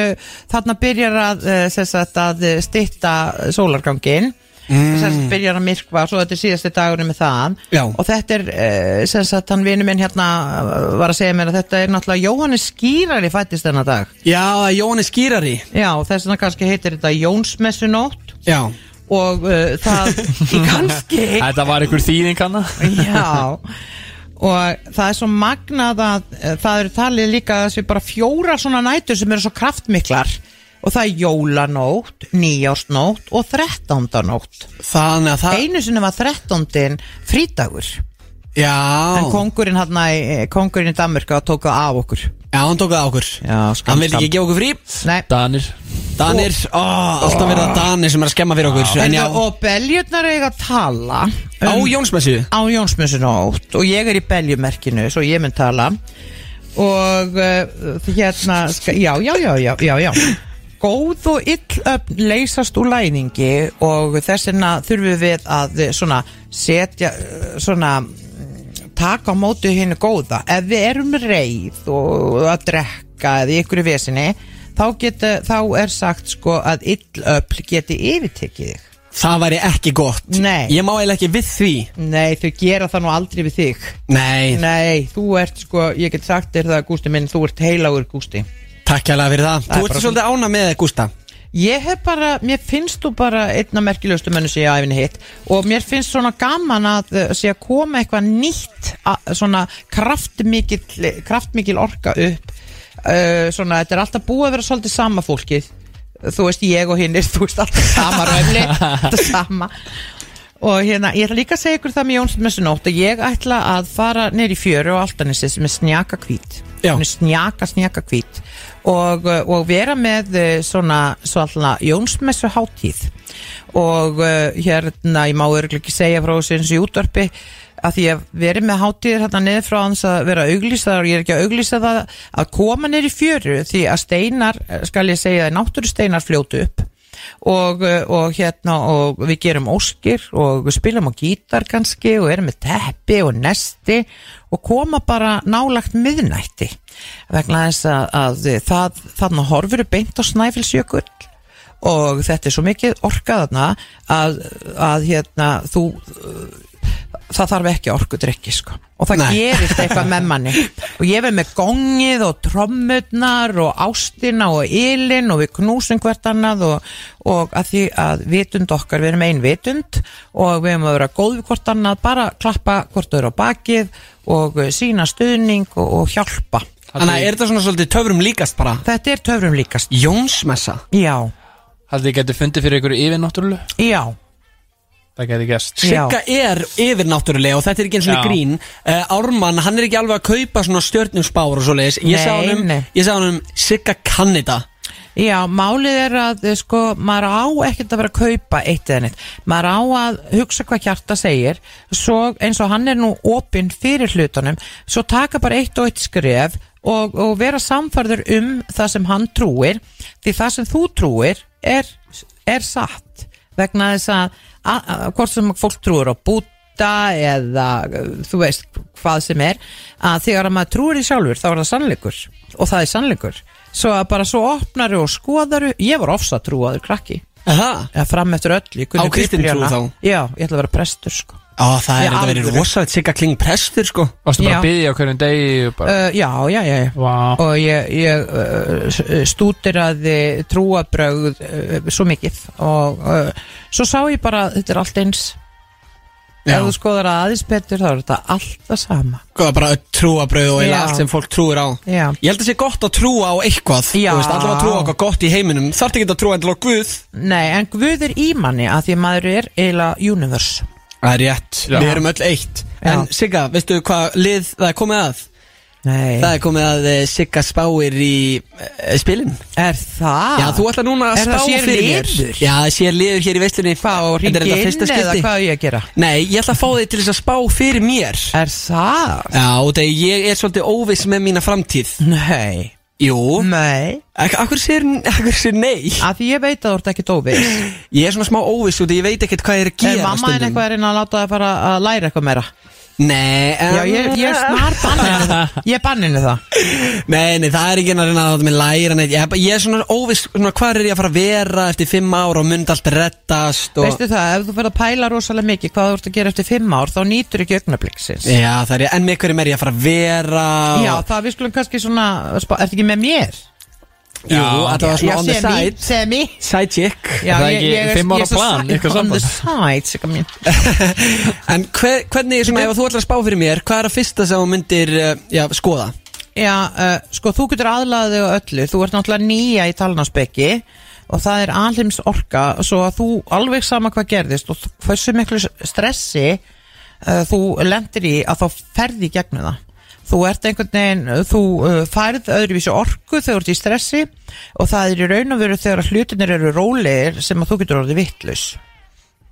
þarna byrjar að, uh, sem sagt, að uh, stytta sólargangin mm. sem sagt, byrjar að myrkva, svo þetta er síðasti dagurinn með það Já. og þetta er, uh, sem sagt, hann vinur minn hérna uh, var að segja mér að þetta er náttúrulega Jóhannes skýrari fættist þennan dag Já, Jóni skýrari já, og þess vegna kannski heitir þetta Jónsmessunótt Já, og uh, það <laughs> í kannski Þetta var einhver þýðing hana Já og það er svo magnað að eh, það eru talið líka að þessi bara fjóra svona nætur sem eru svo kraftmiklar og það er jólanótt, nýjársnótt og þrettándanótt þannig að það einu sinni var þrettándin frídagur en Já, kongurinn hann kongurinn í Danmörka tók það af okkur já, hann tók það á okkur Já, skam, Hann vildi ekki skam. gefa okkur frí Nei, Danir Danir, ó, alltaf verið að Danir sem er að skemma fyrir okkur En já, Heyrðu, og beljurnar eiga að tala á um- Jónsmessu á Jónsmessunótt og ég er í beljumerkinu svo ég mun tala og uh, hérna ska, já, já, já, já, já, já góð og ill öfn leysast úr læðingi og þess vegna þurfum við að eh, svona setja eh, svona taka á móti hennu góða ef við erum reið og að drekka eða í einhverju vesinni þá, geta, þá er sagt sko að ill öfl geti yfirtekið þig Það væri ekki gott Nei. Ég má eiginlega ekki við því Nei, þau gera það nú aldrei við þig Nei, Nei, þú ert sko, ég get sagt þér það Gústi minn, þú ert heilagur Gústi takk hérlega fyrir það Það Þú er ert bara svolítið ána með Gústa Ég hef bara, mér finnst þú bara einna merkilegustu mönnu sem ég á æfinni hitt og mér finnst svona gaman að uh, sé að koma eitthvað nýtt að- svona kraftmikil, kraftmikil orka upp uh, svona, þetta er alltaf búið að vera svolítið sama fólkið þú veist ég og hinnir, þú veist alltaf sama röfli, alltaf sama og hérna, ég ætla líka að segja ykkur það með Jónsmessunótt að ég ætla að fara neyri í fjöru og altanissi sem er snjaka hvít Já. Hún er snjaka, snjaka hvít og, uh, og vera með uh, svona, svona Jónsmessu hátíð og uh, hérna ég má örgulega ekki segja frá þessu eins og í útvarpi að því að verið með hátíðir hérna niður frá hans að vera auglýsaðar og ég er ekki að auglýsa það að koma niður í fjöru því að steinar, eh, skal ég segja það, náttúru steinar fljótu upp og, uh, og hérna og við gerum óskir og við spilum á gítar kannski og erum með teppi og nesti og koma bara nálagt miðnætti vegna þess að, að það, þarna horfur beint á snæfilsjökull og þetta er svo mikið orka þarna að, að hérna þú það þarf ekki orku drikki sko og það Nei. gerist eitthvað með manni og ég verð með gongið og trommurnar og ástina og ylin og við knúsum hvert annað og, og að því að vitund okkar við erum ein vitund og við erum að vera góð við hvort annað bara klappa hvort þau eru á bakið og eh, sýna stuðning og, og hjálpa Þannig að er þetta svona svolítið töfrum líkast bara þetta er töfrum líkast Jónsmessa já, Haldið þið getur fundið fyrir einhverju yfirnáttúrulega já, Það geti gæst Já. Sigga er yfirnáttúrulega og þetta er ekki eins og Já. grín uh, Ármann, hann er ekki alveg að kaupa svona stjörnum spár og svoleiðis Ég Nei, sá hann um, nei. ég sá hann um Sigga Kannida já málið er að eh, sko, maður á ekkert að vera að kaupa eitt eða neitt, maður á að hugsa hvað hjarta segir, svo eins og hann er nú opinn fyrir hlutunum svo taka bara eitt og eitt skref og, og vera samfærður um það sem hann trúir, því það sem þú trúir er, er satt vegna þess að, að, að hvort sem fólk trúir á búta eða uh, þú veist hvað sem er að þegar að maður trúir í sjálfur þá er það sannleikur og það er sannleikur svo að bara svo opnaru og skoðaru ég var ofsa trúaður krakki Það? eða fram eftir öllu ég kunni Á kristintrú biblíuna. þá? já, ég ætla að vera prestur sko Á, það Í er þetta verið alvöru. rosalegt Sigga Kling prestur sko Varstu bara Já. að byggja á hverjum degi og bara, uh, já, já, já, já. Vá. og ég, ég uh, stúdiraði trúabrögð uh, svo mikið og uh, svo sá ég bara að þetta er allt eins Já. ef þú skoðar að aðeins betur þá er þetta allt það sama Sko, bara trúabröð og eða Já. allt sem fólk trúir á Já. Ég held að sé gott að trúa á eitthvað Já. Þú veist, allavega að trúa á eitthvað gott í heiminum Þarf ekki að trúa endilega á Guð nei, en Guð er í manni að því maður er eiginlega universe Það er rétt, Já. við erum öll eitt Já. En Sigga, veistu hvað lið það er komið að? nei, Það er komið að eh, Sigga spáir í uh, spilin er það Já, þú ætlar núna að Er spá það sér fyrir liður? mér Já, það sér liður hér í veislunni hvað og Þetta er ringi þetta inn fyrsta eða skipti hvað á ég að gera Nei, ég ætla að fá þig til þess að spá fyrir mér er það Já, og þegar ég er svolítið óviss með mína framtíð nei, Jú, Nei, Ak- akkur sér, akkur sér nei af því ég veit að þú ert ekkert óviss Ég er svona smá óviss út, í- ég veit ekkert hvað ég er að Er gera mamma en stundum. eitthvað að reyna að láta það fara að læra eitthvað meira Nei, um, Já, ég, ég er snar <laughs> banninu það Ég er banninu það Nei, nei, það er ekki að reyna að láta mig læra neitt Ég, er bara- ég er svona óviss, svona hvað er ég að fara að vera eftir fimm ára og mynd allt rettast og... Veistu það, ef þú fyrir að pæla rosalega mikið hvað þú ert að gera eftir fimm ár þá nýtur ekki augnabliksins Já, það er ég, en með hverjum er ég að fara að vera og- Já, það við skulum kannski svona spá- Ertu ekki með mér? Jú, þetta Já, var svona on the semi, side Semi Side chick Já, Það er ég, ekki ég, er- fimm ára ég er svo plan, side- eitthvað On the side, sko, sigga mín En hver, hvernig, svona, ef þú ætlar að spá fyrir mér Hvað er að fyrsta sem þú myndir, uh, já, skoða? Já, uh, sko, þú getur aðlaðið þig á öllu Þú ert náttúrulega nýja í talnarsbeki og það er alheims orka svo að þú alveg sama hvað gerðist og þú- hversu miklu stressi uh, þú lendir í að þá ferði í gegnum það Þú ert einhvern veginn, uh, þú uh, færð öðruvísi orku þegar þú ert í stressi og það er í raun og veru þegar hlutinir eru rólegir sem að þú getur orðið vittlaus.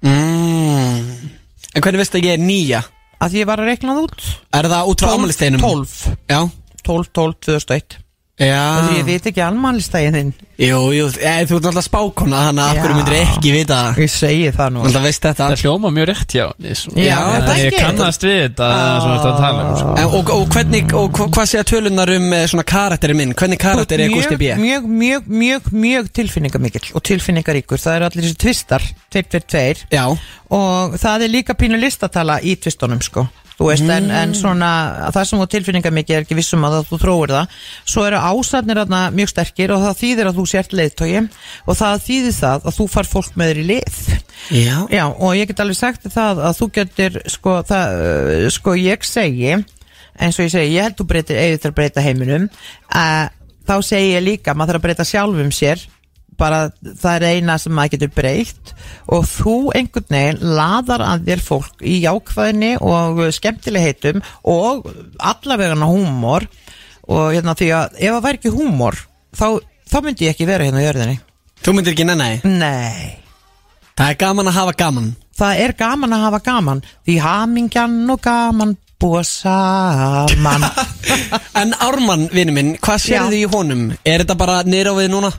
Mm. En hvernig veistu að ég er nýja? Að því ég var að reikna það út? Er það út frá ámælisteinum? 12, Já 12, 12, 2001 Já ah. Því ég veit ekki almælistægin þinn Jú, jú, e, þú ert náttúrulega spákona Þannig að af Já. hverju myndir ekki vita það Ég segi það nú Náttúrulega veist þetta Það hljóma mjög rétt hjá henni, svona. Já, Þannig það að Ég ekki. kannast við þetta það sem þetta að tala um sko. en, og, og hvernig, og hva- hvað segja tölunar um eh, svona karakterinn minn? Hvernig karakter er Gusti B? mjög, mjög, mjög, mjög, mjög tilfinningamikill og tilfinningaríkur Það eru allir þessi tvistar, 2-2-2 Já Og það er líka pínu listatala í tvistunum sko Þú veist, en, en svona, það sem þú tilfinningamikið er ekki vissum að þú þróir það Svo eru ásatnir þarna mjög sterkir og það þýðir að þú sért leiðtogi Og það þýðir það að þú far fólk með þér í lið Já Já, og ég get alveg sagt þér það að þú getur, sko, það, uh, sko ég segi, eins og ég segi, ég held þú breytir, eigið til að breyta heiminum, uh, þá segi ég líka, maður þarf að breyta sjálfum sér, bara það er eina sem maður getur breytt og þú einhvern veginn laðar að þér fólk í jákvæðinni og skemmtilegheitum og allavegana húmor og hérna því að ef það væri ekki húmor þá, þá myndi ég ekki vera hérna í jörðinni. Þú myndir ekki nenni Nei. Það er gaman að hafa gaman það er gaman að hafa gaman því hamingjan og gaman búa saman En Ármann, vinnu minn, hvað sérðu í honum? Er þetta bara niður á við núna?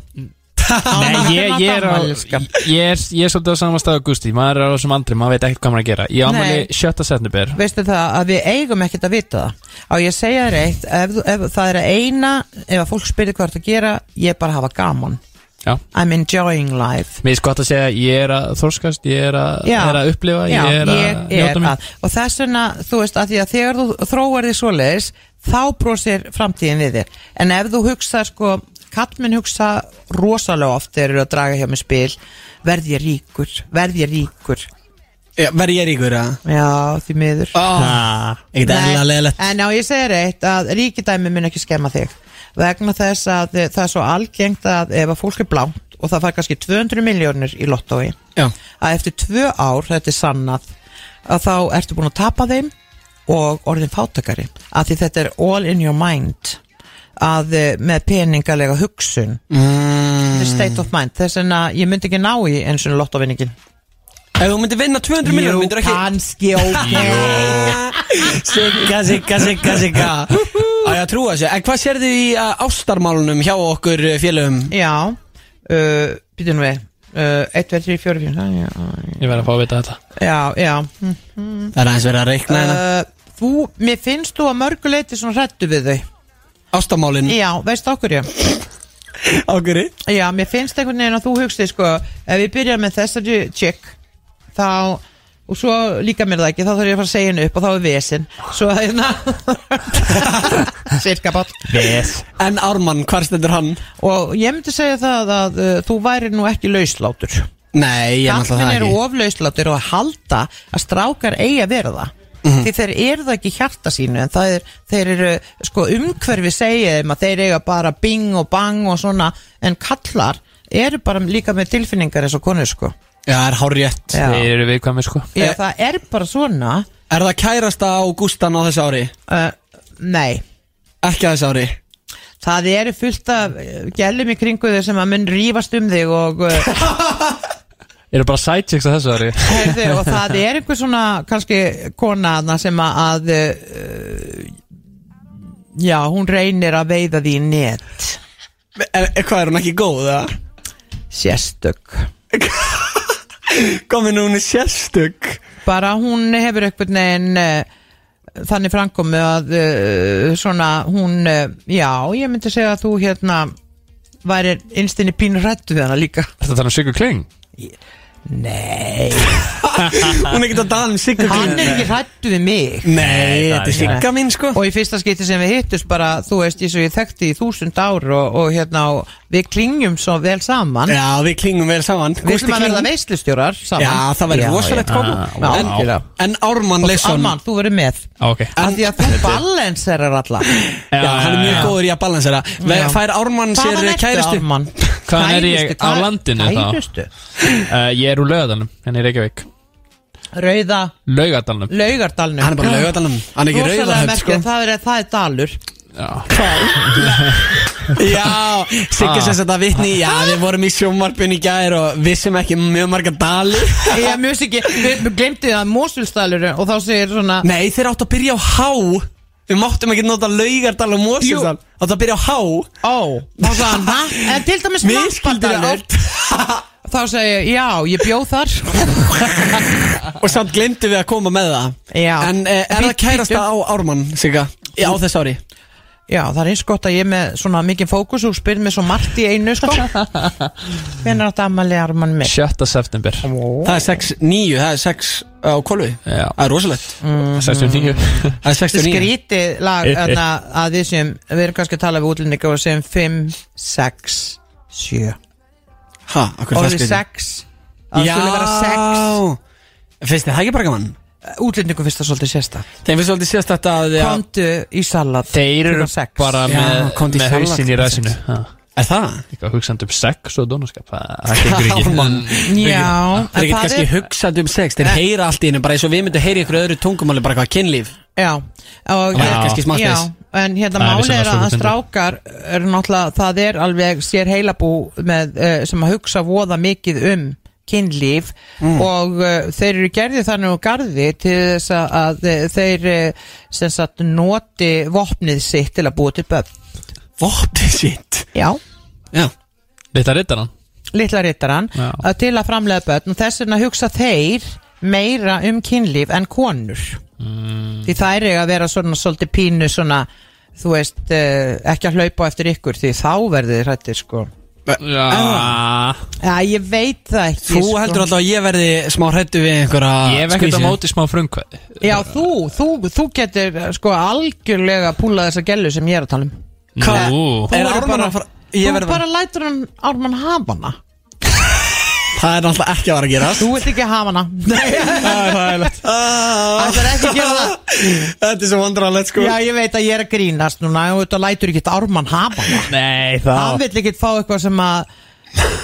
<laughs> Nei, Ánægður ég, með ég, er á, afmæli, sko. ég er Ég er svolítið á sama stað að Gusti Maður er á þessum andri, maður veit ekkert hvað maður er að gera Ég Nei. ámæli 7. september veistu það að við eigum ekkert að vita það á ég að segja þér eitt ef, þú- ef, það er að eina, ef að fólk spyrir hvað það gera ég bara hafa gaman Já I'm enjoying life Mér er gott að segja ég er að þorskast, ég er að, Já. er að upplifa, Já, ég er að er njóta mig að, og þess vegna, þú veist, að því að þegar þú þróar því svoleiðis, þá brosir framtíðin við þér, en ef þú hugsa sko, kallmenn hugsa rosalega oft þegar þeir eru að draga hjá mig spil verð ég ríkur, verð ég ríkur Já, Verð ég ríkur, eða? Já, því miður Oh, ekkert Nei, eðlilega leðilegt En já, ég segir eitt að ríkidæmi mun ekki skemma þig vegna þess að eh, það er svo algengt að ef að fólk er blánt og það fær kannski 200 miljónir í lottói Já. að eftir tvö ár, þetta er sannað að þá ertu búin að tapa þeim og orðin fátakari að því þetta er all in your mind að eh, með peningalega hugsun mm. state of mind þess vegna ég myndi ekki ná í eins og lottóvinningin Ef þú myndir vinna 200 miljónir, myndir ekki kannski ok Sigga, sigga, sigga, sigga Á ég að trúa þessu En hvað sérðu í uh, ástarmálunum hjá okkur uh, félögum? Já uh, Býtum við uh, 1, 2, 3, 4, 5 já, Ég verð að fá að vita þetta Já, já mm. Það er aðeins verið að reikna hérna uh, Þú, mér finnst þú að mörgu leiti svona hrættu við þau Uh, Ástarmálin Já, veist okkur já Okkur Já, mér finnst einhvern veginn að þú hugsti sko Ef ég byrja með þessari check Þá Og svo líka mér það ekki, þá þarf ég að fara að segja henni upp og þá er vesinn Svo að <laughs> hérna Sirka bát Yes En Ármann, hvar stendur hann? Og ég myndi segja það að uh, þú væri nú ekki lauslátur Nei, ég er náttúrulega Kallmenn það eru ekki oflauslátir og að halda að strákar eigi að vera það Mhm. því þeir eru það ekki í hjarta sínu en það er, þeir eru, sko umhverfi segja þeim að þeir eiga bara bing og bang og svona, en kallar eru bara líka með tilfinningar eins og konur sko Já, það er hárjött Já. Þeir eru viðkvæmi sko Eh. Já, það er bara svona Er það kærasta á Gústan á þessu ári? uh, nei, Ekki á þessu ári það eru fullt af uh, gælum í kringu þau sem að mun rífast um þig og uh, Eru bara sidechicks á þessu <laughs> ári Heyrðu, og það er einhver svona kannski kona þarna sem að, eh, að uh, já, hún reynir að veiða því í net En en hvað er hún ekki góð, það? sérstök Komið nú hún er sérstök bara hún hefur einhvern veginn uh, þannig framkomi að uh, svona hún uh, já, ég myndi segja að þú hérna væri innstinni pínur hrættu við hana líka Þetta tala um Sigur Kling Nei, Hún er ekkert að tala um Sigga hann mín. er ekki hrættu við mig Nei, þetta er Sigga mín, sko og í fyrsta skipti sem við hittust bara, þú veist, ég svo ég þekkti í þúsund ár og, og hérna, og við klingjum svo vel saman Já, við klingum vel saman við Gústi ætlum að verða Kling. veislustjórar saman Já, það væri Já, já. rosalegt kombo Já, En, algjörlega. en Ármann Leifsson Alman, þú verður með Á, ok af því að þú balanserar alla Já, hann er mjög góður í að balansera Ve- Já. Fær Ármann sér eh, Hvaðan ertu, kæristu Ármann? Hvaðan er Kærustu, ég? Á hvað- landinu þá? Kærustu Uh, Ég er úr Laugadalnum, henni er Reykjavík Rauða Laugadalnum Laugardalnum Hann er bara laugadalum Hann er ekki Rosalega rauðahöfn, sko merkilegt, það er, það er dalur Já, Já, Siggi Ah. sem þetta vitni Já, við vorum í sjónvarpinu í gær og vissum ekki mjög marga dali <laughs> Ég mjög ekki, við við glemdi það Mósulsdalur og þá segir svona Nei, þeir áttu að byrja á H Við máttum ekki nota laugardal og mósinsal Áttu að byrja á H Ó, þá sagði hann, hæ? En til dæmis Lampardalur Misskildir Þá segi ég, já, ég bjóð þar <laughs> Og samt glemdu við að koma með það Já. En eh, er það Bíddu, kærasta á Ármann, Sigga? Já, á þess ári Já, það er eins gott að ég er með svona mikið fókus og spyr með svo margt í einu <laughs> sko Hvernig átt ammali armann mig? 7. september Það er 6-9, það er 6 á kolvi Já. Mm. Það er rosalegt 69 Það er 69 skrítið lag Eh, öðna, að við sem, við erum kannski að tala við útlendinga og segjum 5, 6, 7 Ha, og akkur við það skriði 6 að það skulle vera Finnst þið það ekki bara gaman? 6 útlendingu finnst það svolítið sérstakt Þeim finnst svolítið síðast þetta að að- komdu í salat Þeir eru klukkan sex. bara Já, með, komdu í með salat hausin í klukkan ræsinu sex. Ha, Er það? Eitthvað hugsandi um sex og dónaskap Það það gengur ekki Ármann. já, Þeir er en ekkert kannski hugsandi um sex Þeir heyra allt í hennu bara eins og við myndum heyra í ykkur öðru tungumáli bara hvað kynlíf já, og, væri kannski smá já, spes. en hérna Það er málið vissulega er að svolítið. strákar er náttúrulega, það er alveg sér heilabú með, eh, sem að hugsa voða mikið um kynlíf og uh, þeir eru gerðið þannig og garði til þess að, að eh, þeir uh, sem sagt noti vopnið sitt til að búa til böf Vopni sitt já, Já Lita rittaran litla rittaran Já. að til að framlega börn og þess vegna hugsa þeir meira um kynlíf en konur Mm. því það er eiga að vera svona svolítið pínu svona þú veist, uh, ekki að hlaupa á eftir ykkur því þá verðið þið hrættir sko Já Já, ég veit það ekki Þú sko. heldur alltaf að ég verði smá hrættu við einhverja Ég hef ekkert á skvísu. móti smá frumkvæði Já, þú, þú, þú getur eh, sko algjörlega púlað þessa gellu sem ég er að tala um Nú Þú Er eru Ármann bara- að fara- Þú Ég verð- bara lætur hann Ármann hafa hana Það er alltaf ekki að vera að gera Þú vilt ekki hafa hana Ah. Ætlar ekki að gera það? <laughs> Þetta er svo vandrarlegt sko Já, ég veit að ég er að grínast núna og þetta lætur ekki Ármann hafa hana Nei, Hann það vill ekki fá eitthvað sem að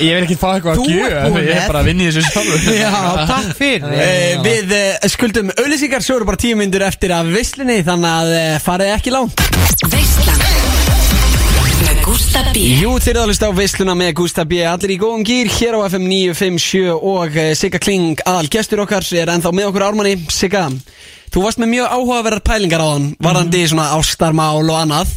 Ég vil ekki fá eitthvað Þú að ert gjöf búin Ég með. er bara að vinna í þessu sjálfur <laughs> Já, takk fyrir Eh, Við eh, skuldum auðlýsingar Svo eru bara tíu myndir eftir af vislinni Þannig að eh, farið ekki langt Veislan Með Gústa B Jú, þeir eru að hlusta á visluna með Gústa B Allir í góðum gýr hér á FM 957 Og eh, Sigga Kling, aðal gestur okkar Er ennþá með okkur Ármanni Sigga, þú varst með mjög áhugaverðar pælingar á hann Varandi svona ástarmál og annað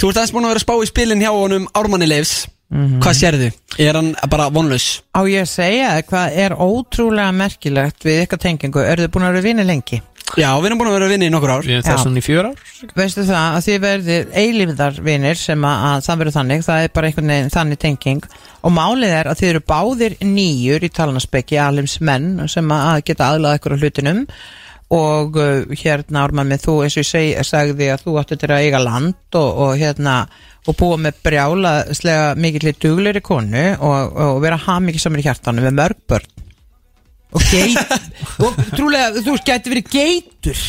Þú ert aðeins búin að vera að spá í spilin hjá honum Ármanni Leifs Hvað sérðu? Er hann bara vonlaus? Á ég að segja þér hvað er ótrúlega merkilegt við ykkar tengingu, eru þið búin að vera vinni lengi? Já, við erum búin að vera að vinna í nokkur ár Við erum Já. þessan í fjör ár Veistu það að þið verðir eilífðar vinir sem að, að það verður þannig, það er bara einhvern veginn þannig tenging og málið er að þið eru báðir nýjur í talanaspeki alims menn sem að að geta aðlað ykkur á hlutinum og uh, hérna Ármann með þú eins og ég seg, sagði að þú áttu til að eiga land og, og hérna og búa með brjála slega mikill dugleiri konu og, og vera hamikið samir í hjartanum með mörg börn og geit og trúlega þú gæti verið geitur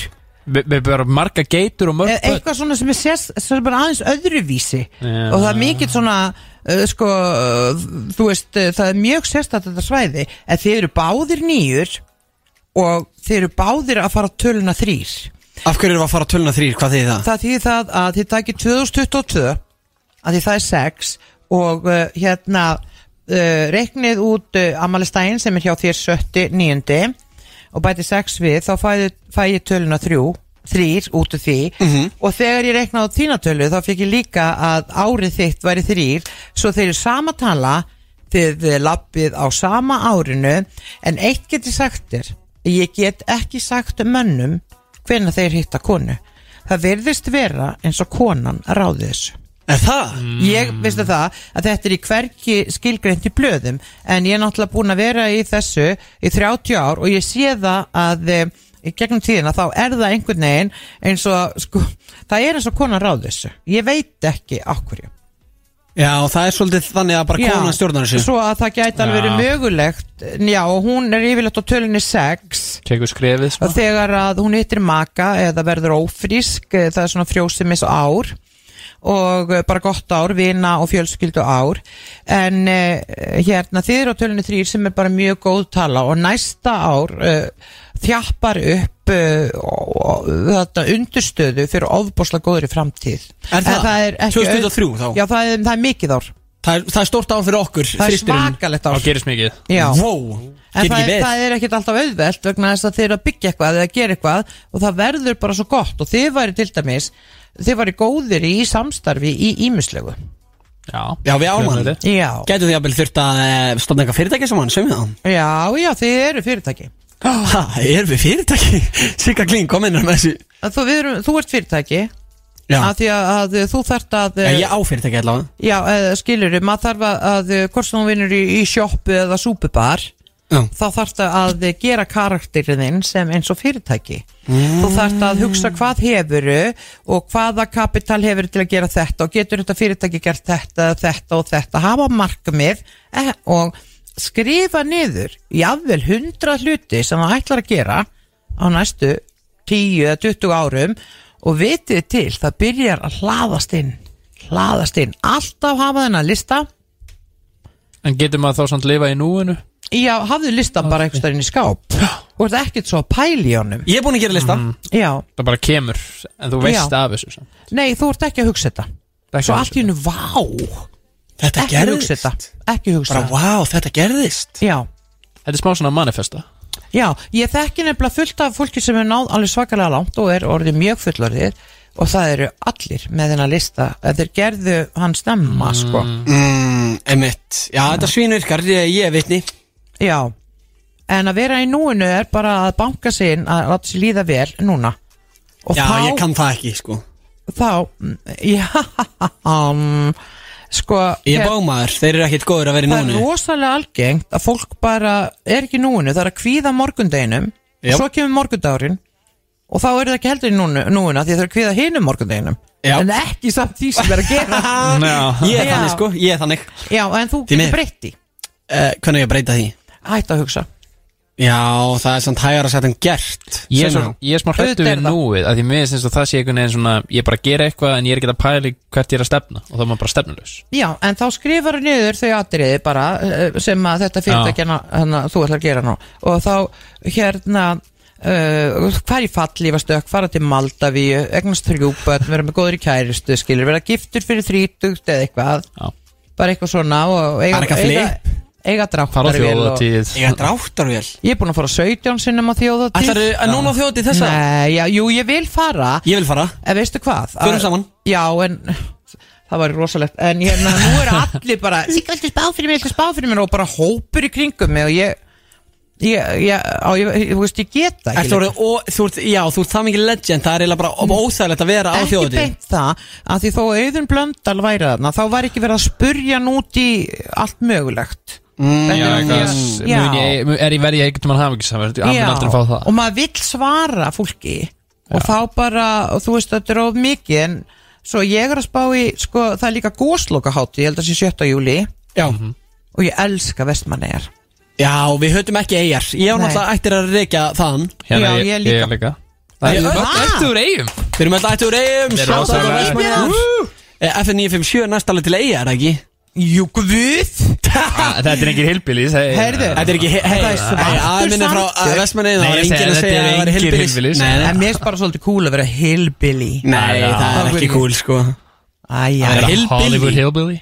Við við erum bara marga geitur og mörg Eð- börn Eh, eitthvað svona sem er sérst sem er bara aðeins öðruvísi Já. og það er mikið svona uh, sko, uh, þú veist uh, það er mjög sérstætt þetta svæði en þið eru báðir nýjur og þið eru báðir að fara á töluna þrýr Af hverju erum við að fara að tölna þrýr? Hvað þýðir það? það þýðir það að þið takir 2022 að því það er 6 og uh, hérna uh, reiknið út uh, amalistæin sem er hjá þér 79 og bæti 6 við þá fæ, fæ ég töluna 3 þrýr út úr því og þegar ég reiknaði á þínatölu þá fekk ég líka að árið þitt væri þrýr svo þeir eru sama tala þið þið lappið á sama árinu en eitt get ég sagt þér ég get ekki sagt mönnum hvenna þeir hitta konu það virðist vera eins og konan ráði þessu En það? ég, Mm. veistu það, að þetta er í hverki skilgreint í blöðum en ég er náttúrulega búin að vera í þessu í 30 ár og ég sé það að eh, í gegnum tíðina þá er það einhvern veginn eins og sko, það er eins og konan ráð þessu ég veit ekki akkurju Já, það er svolítið þannig að bara konan stjórnar þessu svo að það gæti alveg verið mögulegt já, og hún er yfirleitt á tölunni 6 Tekur skrefið sko. smá og þegar að hún hittir maka eða verður ófrísk, eh, það er svona frjósimis ár og eh, bara gott ár, vina og fjölskyldu ár en eh, hérna þið eru á tölunni þrýr sem er bara mjög góð tala og næsta ár eh, þjappar upp eh, og- og- þetta undurstöðu fyrir ofbúslega góðri framtíð Er það? En er ekki 2023 þá? Já, það er, það er mikið ár, það, er- það er stórt ár fyrir okkur það er þristurinn. svakalegt ár Og gerist mikið Já. Vó, En get það ekki er, beð það er ekkert alltaf auðvelt vegna þess að þeir eru að byggja eitthvað eða gera eitthvað og það verður bara svo gott og þið væri til dæmis, þið væri góðir í samstarfi í ímislegu. Já, Já, við ámann. Hljómsveitir. Já, Gætu því að þurft að eh, stofna eitthvað fyrirtæki saman, sem við það já, já, þið eru fyrirtæki. Ha, erum við fyrirtæki? <laughs> Sigga Kling, kom inn með þessu Að Þú, við erum, þú ert fyrirtæki Já, að eh, því að, að þú þarft að, Já, ég á fyrirtæki allavega já skilur, maður þarf að, að hvort sem þú vinnur í, í sjoppu eða súpubar, Já, þá þarft að gera karakterinn þinn sem eins og fyrirtæki þú þarft að hugsa hvað hefuru og hvaða kapital hefur til að gera þetta og getur þetta fyrirtæki gert þetta, þetta og þetta, hafa markmið eh, og skrifa niður jafnvel hundra hluti sem það ætlar að gera á næstu 10 eða 20 árum og vitið til það byrjar að hlaðast inn hlaðast inn, alltaf hafa þennan lista En getur maður þá samt lifa í núinu? Já, hafðu listan bara einhvers staðar inn í skáp og ert ekkert svo að pæla í honum Ég er búin að gera lista Já, Það bara kemur En þú veist Já. af þessu samt. nei, þú ert ekki að hugsa þetta Það er ekki Svo að allt í hennu, vá Þetta Ekki hugsa þetta, ekki hugsa Bara, þetta vá, þetta gerðist Já, Þetta er smá svona manifesta já, ég þekki nefnilega fullt af fólki sem er náð alveg svakalega langt og er orðið mjög fullorðið og það eru allir með þennan lista að þeir gerðu hann snemma, sko mm, Emitt, já, þetta svínvirkar, ég, ég er vitni Já, en að vera í núinu er bara að banka sig inn að láta sér líða vel núna og Já, þá ég kann það ekki, sko þá <laughs> mm, já um, sko Ég er hér- bámaður, þeir eru ekkert góður að vera í það er núni rosalega algengt að fólk bara er ekki í núinu, það er að kvíða morgundeginum Jáp. og svo kemur morgundagurinn og þá eru það ekki heldur í núinu, núinu af því að það er að kvíða hinum morgundeginum Já. en ekki samt því sem er að gera <laughs> Já Ah. Ég er Já. þannig, sko, ég er þannig uh, já, en þú Því miður. getur breytti Hvernig á ég að breyta því? hætt að hugsa Já, það er samt hægara sagt en gert Ég er, Sem svo, ég er smá hrættu Auðvitað er við það. núið að því mér finnst eins og það sé einhvern veginn svona ég bara gera eitthvað en ég er ekki að pæli hvert ég er að stefna og þá er maður bara stefnulegs já, en þá skrifar hann niður þau atriði bara eh, sem að þetta fyrirtækja hana, þú ætlar að gera nú og þá hérna Uh, hvað í fallífastök, fara til Maldavíu egnast þrjúböld, vera með góður í kæristu skilur, vera giftur fyrir þrítugt eða eitthvað Já. bara eitthvað svona og eiga, Bara eitthvað eiga, flip. eiga fara á dráttar þjóðatíð Ég er dráttarvél ég er búin að fara 17 sinnum á þjóðatíð Ætlarðu að núna á þjóðatíð þessa? Nei, já, jú, ég vil fara Ég vil fara en veistu hvað Förum Að- saman. já, en það var rosalegt en hérna, nú <laughs> eru allir bara ég viltu spá fyrir mér, viltu spá fyrir mér og bara hópur í kringum mig og ég ég, ég, á, ég, ég, þú veist, ég get það Ertu orðið, ó, þú ert, já, þú ert það mikið legend Það er eiginlega bara óþægilegt að vera á Mm. ekki þjóðatíð beint það að því þó að auðun blöndal væri þarna þá var ekki verið að spurja nút í allt mögulegt mm, Já, eitthvað, mun ég, mun- er ég verið ég ekkert um að hafa ekki samverð hann mun aldrei fá það og maður vill svara fólki og þá bara, og þú veist þetta er of mikið en svo ég er að spá í sko, það er líka góslokahátti, ég held að sé 7. júli Já, og ég elska vestmannegar já, við höfum ekki eigjar Ég á Nei. náttúrulega ættir að reykja þaðan Hérna, Já, ég líka. líka Það Ég- er Ah! eftir úr eigum Við erum alltaf ættir úr eigum Við erum shout out rosalega- á Vestmannaeyjar. Woo! Eh, FN 957 er næst alveg til eigjar, ekki? Jú, guð Ah, Þetta er engin hilbilís Heyrðu. Þetta er ekki, hei, Þetta er svartur hei, aðminni frá sandur. Vestmannaeyjum Það Nei, var ég segi, enginn að þetta segja er að það var engin hilbilis hillbillies. en mér er bara svolítið cool að vera hillbilly Nei, Já. það er ekki cool, sko Æja, Hillbilly. Hollywood Hillbilly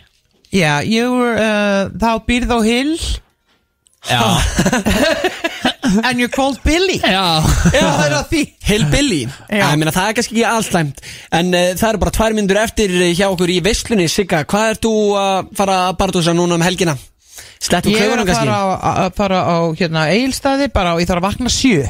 já, ég uh, þá býrð á hill Já, <laughs> And you're called Billy já Já, það er að því Hillbilly Já. Æ, meina, Það er kannski ekki allslæmt En uh, það eru bara tvær myndur eftir eh, hjá okkur í veislunni Sigga, hvað ert þú að fara að barðúsa núna um helgina? Slett úr Ég er klaugunum að kannski? fara á, að- að fara á hérna, eilstaði bara og ég þarf að vakna sjö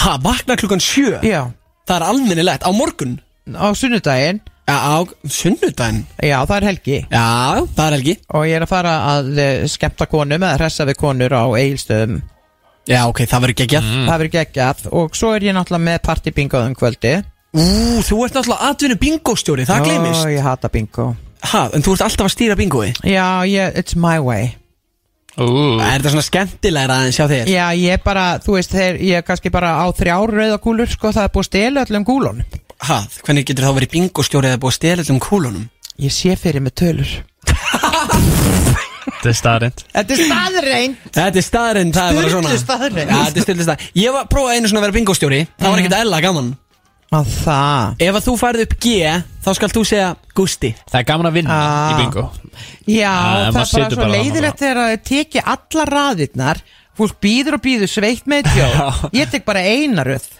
Ha, vakna klukkan sjö? Já, Það er almennilegt, á morgun? á sunnudaginn Já, á sunnudaginn Já, það er helgi Já, það er helgi og ég er að fara að eh, skemmta konum eða hressa við konur á eilstöðum Já, ok, það verður geggjað Mm. það verður geggjað og svo er ég náttúrulega með um partybingoðum kvöldi Ú, þú ert náttúrulega atvinnu bingóstjóri, það gleymist Ó, ég hata bingo Ha, en þú ert alltaf að stýra bingói já, ég, it's my way Ú, Er þetta svona skemmtilegra aðeins hjá þér? já, ég bara, þú veist, þeir, ég er kannski bara á þrjár rauðakúlur, sko, það er búið að stela öllum gúlun Ha, hvernig getur þá verið bingóstjóri eða búið að stela um kúlunum? ég sé fyrir með tölur þetta er starrend þetta er staðrein Þetta er staðurinn, það er bara svona Sturlu staðreynd. Mhm. Já, þetta er styrlu staðurinn Ég var prófaði einu svona að vera bingóstjóri Það var ekkert ella gaman að það Ef að þú færið upp G, þá skal þú segja Gusti Það er gaman að vinna Ah. í bingo já, Ah, það maður er bara situr svo bara þarna leiðilegt þegar að þau teki allar raðirnar fólk býður og býður sveitt með <laughs> tjóð ég tek bara eina röð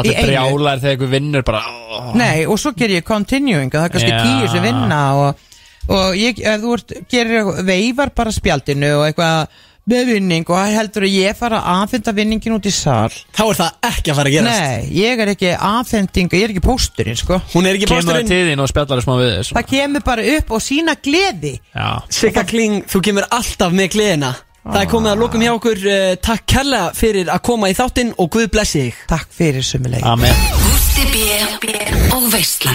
Í allir einu. brjálar þegar einhver vinnur bara ó, Nei, og svo ger ég continuing og það er kannski Já. tíu sem vinna og, og ég, ef þú ert, gerir eitthvað- veifar bara spjaldinu og eitthvað með vinning og heldur að ég fara að aðfenda vinningin út í sal Þá er það ekki að fara að gerast Nei, ég er ekki aðfending ég er ekki pósturinn, sko Hún er ekki Kemur það básturinn til þín og spjallar smá við þess Það kemur bara upp og sína gleði Já Sigga Kling, þú kemur alltaf með gleðina Það er komið að lokum hjá okkur eh, Takk kærlega fyrir að koma í þáttinn og Guð blessi þig Takk fyrir sömuleik Amen Gústi B. og Veisla